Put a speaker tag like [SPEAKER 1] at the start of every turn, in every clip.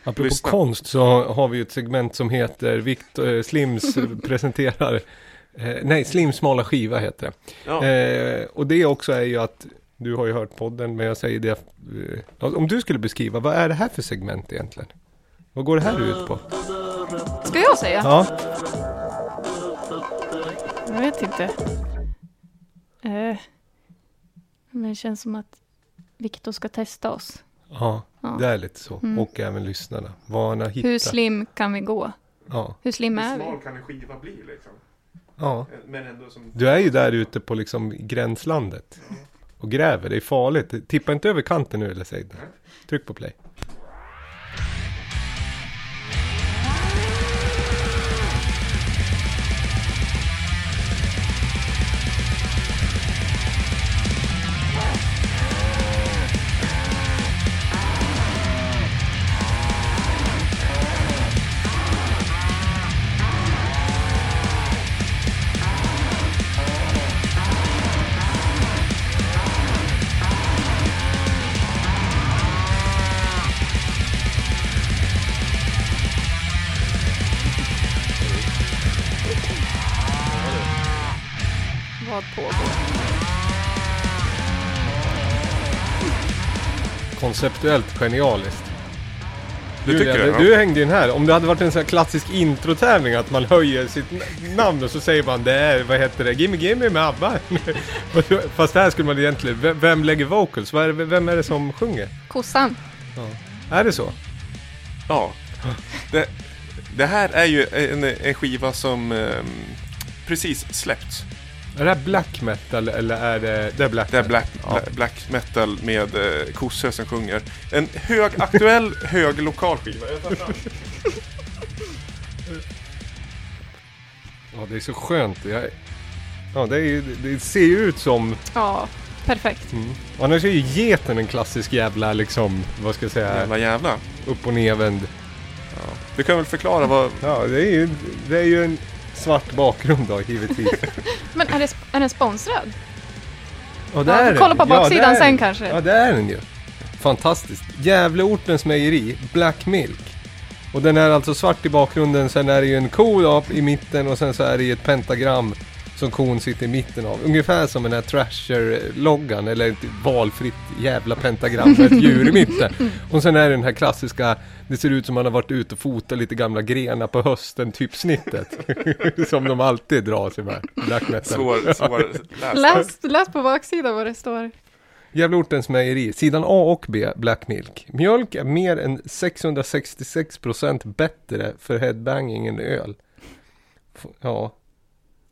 [SPEAKER 1] Apropå
[SPEAKER 2] Lyssna.
[SPEAKER 1] konst så har vi ju ett segment som heter Vikt, eh, Slims presenterar. Eh, nej, Slims smala skiva heter det.
[SPEAKER 2] Ja.
[SPEAKER 1] Eh, och det också är ju att, du har ju hört podden, men jag säger det. Eh, om du skulle beskriva, vad är det här för segment egentligen? Vad går det här ut på?
[SPEAKER 3] Ska jag säga?
[SPEAKER 1] Ja,
[SPEAKER 3] Jag vet inte. Eh, men det känns som att Viktor ska testa oss.
[SPEAKER 1] ja
[SPEAKER 3] Ja.
[SPEAKER 1] det är lite så.
[SPEAKER 3] Mm.
[SPEAKER 1] Och även lyssnarna. Vana hitta.
[SPEAKER 3] Hur slim kan vi gå?
[SPEAKER 1] ja.
[SPEAKER 3] Hur slim
[SPEAKER 2] Hur
[SPEAKER 3] är vi?
[SPEAKER 2] smal kan en skiva bli liksom?
[SPEAKER 1] ja,
[SPEAKER 2] Men ändå som...
[SPEAKER 1] du är ju där ute på liksom gränslandet. Och gräver, det är farligt. Tippa inte över kanten nu eller säg det. Tryck på play.
[SPEAKER 3] Vad pågår?
[SPEAKER 1] Konceptuellt genialiskt.
[SPEAKER 2] Du tycker
[SPEAKER 1] Julia,
[SPEAKER 2] det?
[SPEAKER 1] du
[SPEAKER 2] ja.
[SPEAKER 1] hängde ju in här. Om det hade varit en sån här klassisk introtävling att man höjer sitt n- namn och så säger man det är, vad heter det, Gimme Gimme med ABBA. Fast här skulle man egentligen, vem, vem lägger vocals? Vad är det, vem är det som sjunger?
[SPEAKER 3] Kossan.
[SPEAKER 1] Är det så?
[SPEAKER 2] ja. Det, det här är ju en, en skiva som ehm, precis släppts.
[SPEAKER 1] Är det här black metal eller är det, det är black
[SPEAKER 2] Det är
[SPEAKER 1] metal?
[SPEAKER 2] black, bla- black metal med eh, kossor som sjunger. En hög, aktuell, hög lokal skiva.
[SPEAKER 1] Äh.
[SPEAKER 2] Jag tar fram.
[SPEAKER 1] Ja, det är så skönt. Jag, ja, det, är, ju- det ser ju ut som,
[SPEAKER 3] Ja, perfekt.
[SPEAKER 1] annars är ju geten en klassisk jävla liksom, vad ska jag säga,
[SPEAKER 2] Jävla jävla.
[SPEAKER 1] upp och nedvänd.
[SPEAKER 2] Du kan väl förklara vad...
[SPEAKER 1] Ja, det är ju, det är ju en svart bakgrund då givetvis.
[SPEAKER 3] Men är, det, sp- är den sponsrad?
[SPEAKER 1] Ja,
[SPEAKER 3] Ja,
[SPEAKER 1] är
[SPEAKER 3] kolla
[SPEAKER 1] den.
[SPEAKER 3] på baksidan
[SPEAKER 1] det är
[SPEAKER 3] sen
[SPEAKER 1] den.
[SPEAKER 3] kanske.
[SPEAKER 1] Ja, det är den ju. Fantastiskt. Gävleortens mejeri, Black Milk. Och den är alltså svart i bakgrunden, sen är det ju en ko då, i mitten och sen så är det ju ett pentagram som kon sitter i mitten av. Ungefär som den här Trasher-loggan eller ett valfritt jävla pentagram med ett djur i mitten. Och sen är det den här klassiska, det ser ut som man har varit ute och fotat lite gamla grenar på hösten, typ snittet. som de alltid drar sig med. Black metal.
[SPEAKER 2] Svår, svår läst.
[SPEAKER 3] Läs, läs på baksidan vad det står.
[SPEAKER 1] Gävleortens mejeri, sidan A och B, Black Milk. Mjölk är mer än 666% bättre för headbanging än öl. F- Ja.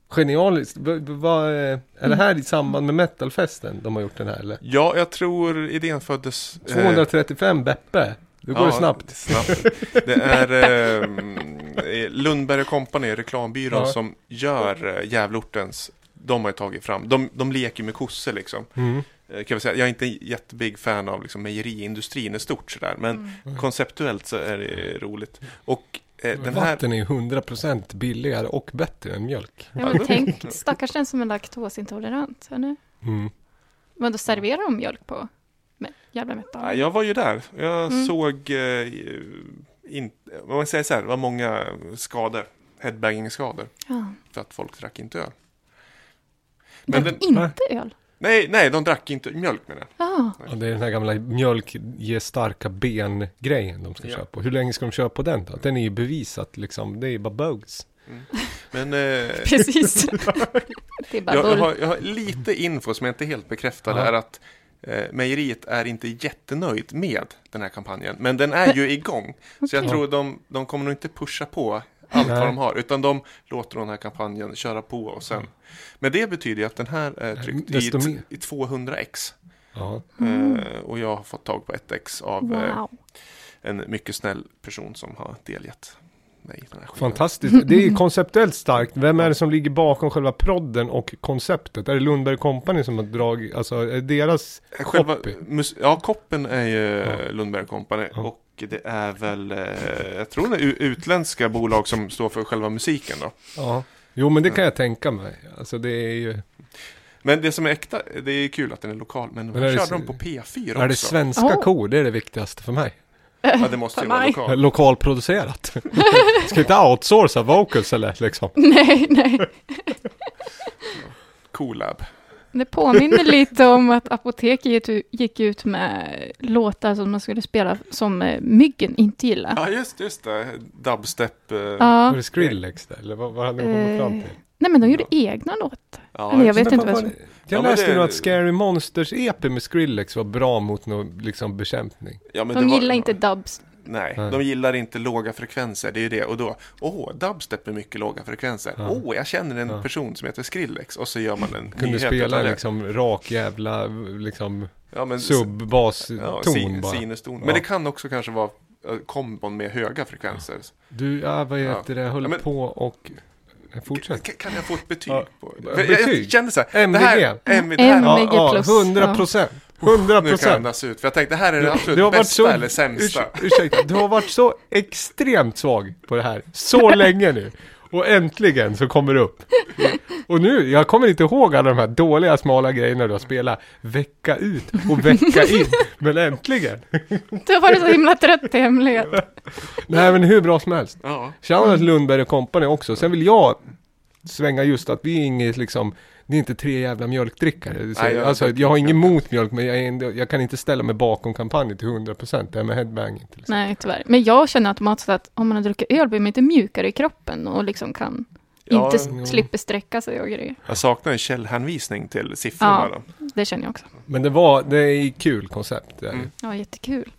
[SPEAKER 1] Genialiskt. V- v- vad, eh, är det här i samband med metalfesten de har gjort den här eller?
[SPEAKER 2] Ja, jag tror idén föddes... eh,
[SPEAKER 1] 235 Beppe. Då går det snabbt.
[SPEAKER 2] snabbt. Det är eh, Lundberg Company, reklambyrån
[SPEAKER 1] Ja.
[SPEAKER 2] som gör eh, Gävleortens. De har ju tagit fram, de, de leker med kossor liksom.
[SPEAKER 1] Mm.
[SPEAKER 2] Eh, Kan jag, säga. jag är inte en jättebig fan av liksom, mejeriindustrin i stort sådär,
[SPEAKER 3] Mm.
[SPEAKER 2] men konceptuellt så är det roligt. Och eh, den här,
[SPEAKER 1] Mm. Vatten Mm. är ju 100% billigare och bättre än mjölk.
[SPEAKER 3] Ja, men tänk, stackars den som är laktosintolerant. Eller?
[SPEAKER 1] Mm.
[SPEAKER 3] Men då serverar de mjölk på med jävla metal.
[SPEAKER 2] Ja, jag var ju där, jag
[SPEAKER 3] Mm.
[SPEAKER 2] såg, eh, in, vad man säger så här, det var många skador, headbanging-skador,
[SPEAKER 3] Ja.
[SPEAKER 2] för att folk drack inte öl. Men
[SPEAKER 3] Men
[SPEAKER 2] den,
[SPEAKER 3] inte öl.
[SPEAKER 2] nej, nej, de drack inte mjölk med det.
[SPEAKER 3] Ja.
[SPEAKER 1] Och det är den här gamla mjölk ger starka ben-grejen de ska
[SPEAKER 2] Ja.
[SPEAKER 1] köra på. Hur länge ska de köra på den då? Den är ju bevisat liksom, det är ju bara bogus.
[SPEAKER 2] Men eh,
[SPEAKER 3] Precis. det är bara
[SPEAKER 2] jag, jag,
[SPEAKER 3] bull.
[SPEAKER 2] har, jag har lite info som jag inte helt bekräftar.
[SPEAKER 1] Ja.
[SPEAKER 2] är att eh, mejeriet är inte jättenöjd med den här kampanjen. Men den är ju igång. Så jag
[SPEAKER 3] Okej.
[SPEAKER 2] tror de, de kommer nog inte pusha på allt
[SPEAKER 1] Nej.
[SPEAKER 2] vad de har. Utan de låter den här kampanjen köra på och sen. Men det betyder ju att den här är tryckt i,
[SPEAKER 1] desto
[SPEAKER 2] t-
[SPEAKER 1] mer.
[SPEAKER 2] i 200x.
[SPEAKER 1] Ja.
[SPEAKER 2] Eh, och jag har fått tag på 1x av eh,
[SPEAKER 3] Wow.
[SPEAKER 2] en mycket snäll person som har delgett mig den här skivan.
[SPEAKER 1] Fantastiskt. Det är ju konceptuellt starkt. Vem är det som ligger bakom själva prodden och konceptet? Är det Lundberg Company som har dragit, alltså är deras...
[SPEAKER 2] Eh, Själva,
[SPEAKER 1] Copy.
[SPEAKER 2] mus- ja, koppen är ju eh,
[SPEAKER 1] Ja.
[SPEAKER 2] Lundberg Company
[SPEAKER 1] Ja.
[SPEAKER 2] och det är väl, eh, jag tror det är u- utländska bolag som står för själva musiken då.
[SPEAKER 1] Ja. Jo, men det kan jag tänka mig. Alltså det är ju...
[SPEAKER 2] Men det som är äkta, det är kul att den är lokal, men,
[SPEAKER 1] Men är
[SPEAKER 2] de
[SPEAKER 1] det
[SPEAKER 2] körde
[SPEAKER 1] s-
[SPEAKER 2] de på P4 också.
[SPEAKER 1] Är det svenska
[SPEAKER 3] Ja.
[SPEAKER 1] kor? Det är det viktigaste för mig.
[SPEAKER 2] Ja, det måste ju vara
[SPEAKER 3] Nej.
[SPEAKER 2] lokal.
[SPEAKER 1] Lokalproducerat. Ska inte outsourca vocals eller liksom.
[SPEAKER 3] Nej, nej.
[SPEAKER 2] Colab.
[SPEAKER 3] Det påminner lite om att apoteket gick ut med låtar som man skulle spela som eh, myggen inte gillar.
[SPEAKER 2] Ja, just, just det. Dubstep. eh,
[SPEAKER 1] Var
[SPEAKER 3] Ja.
[SPEAKER 1] det Skrillex där? Eller vad, vad hade de kommit fram till?
[SPEAKER 3] Nej, men de gjorde egna låtar.
[SPEAKER 2] ja,
[SPEAKER 3] men
[SPEAKER 2] just
[SPEAKER 3] jag
[SPEAKER 2] det.
[SPEAKER 3] vet
[SPEAKER 1] Men
[SPEAKER 3] inte
[SPEAKER 1] fan,
[SPEAKER 3] vad
[SPEAKER 1] var det-
[SPEAKER 2] Ja,
[SPEAKER 1] Jag
[SPEAKER 2] men
[SPEAKER 1] läste
[SPEAKER 2] det-
[SPEAKER 1] nog att Scary Monsters EP med Skrillex var bra mot någon liksom bekämpning.
[SPEAKER 2] Ja, men
[SPEAKER 3] De
[SPEAKER 2] det var-
[SPEAKER 3] gillar inte dubs.
[SPEAKER 2] Nej,
[SPEAKER 1] Nej.
[SPEAKER 2] de gillar inte låga frekvenser. Det är ju det. Och då, åh, dubstep är mycket låga frekvenser. Åh, jag känner en person som heter Skrillex. Och så gör man en
[SPEAKER 1] Kunde
[SPEAKER 2] nyhet
[SPEAKER 1] spela
[SPEAKER 2] utav det.
[SPEAKER 1] liksom rak jävla liksom
[SPEAKER 2] ja, men, ja,
[SPEAKER 1] sub-baston
[SPEAKER 2] sin,
[SPEAKER 1] bara.
[SPEAKER 2] sinuston.
[SPEAKER 1] Ja.
[SPEAKER 2] Men det kan också kanske vara eh, kombon med höga frekvenser.
[SPEAKER 1] Du, ja, vad heter det, jag höll
[SPEAKER 2] Ja, men-
[SPEAKER 1] på och... Nej, Fortsätt.
[SPEAKER 2] Kan, kan jag få ett betyg?
[SPEAKER 1] Ja.
[SPEAKER 2] på?
[SPEAKER 1] Ja,
[SPEAKER 2] För jag, jag
[SPEAKER 1] betyg.
[SPEAKER 2] kände så här,
[SPEAKER 1] MVG.
[SPEAKER 2] det här, MVG, det här,
[SPEAKER 3] Ja,
[SPEAKER 1] Ja,
[SPEAKER 3] Mega
[SPEAKER 1] ja,
[SPEAKER 3] plus.
[SPEAKER 1] 100 procent. 100
[SPEAKER 2] nu kan jag
[SPEAKER 1] procent.
[SPEAKER 2] andas ut. För jag tänkte, det här är det absolut bästa eller sämsta.
[SPEAKER 1] Urs, ursäkta, du har varit så extremt svag på det här så länge nu. Och äntligen så kommer det upp. Och nu, jag kommer inte ihåg alla de här dåliga smala grejerna du har spelat vecka ut och vecka in. Men äntligen!
[SPEAKER 3] Du har varit så himla trött i hemlighet.
[SPEAKER 1] Nej men hur bra som helst.
[SPEAKER 2] Ja.
[SPEAKER 1] Shoutout Lundberg och Company också. Sen vill jag svänga just att vi är inget liksom, det är inte tre jävla mjölkdrickare. Så,
[SPEAKER 2] Nej, jag-
[SPEAKER 1] alltså, jag har inget emot mjölk, men jag, är ändå, jag kan inte ställa mig bakom kampanjen till 100%. Det här med headbanging till exempel.
[SPEAKER 3] Nej, tyvärr. Men jag känner automatiskt att om man har druckit öl blir man inte mjukare i kroppen och liksom kan
[SPEAKER 2] Ja,
[SPEAKER 3] inte
[SPEAKER 1] jo.
[SPEAKER 3] s- slipper sträcka sig och grejer.
[SPEAKER 2] Jag saknar en källhänvisning till siffrorna.
[SPEAKER 3] Ja,
[SPEAKER 2] Då.
[SPEAKER 3] det känner jag också.
[SPEAKER 1] Men det var, det är ett kul koncept. Det är.
[SPEAKER 2] Mm.
[SPEAKER 3] Ja, jättekul.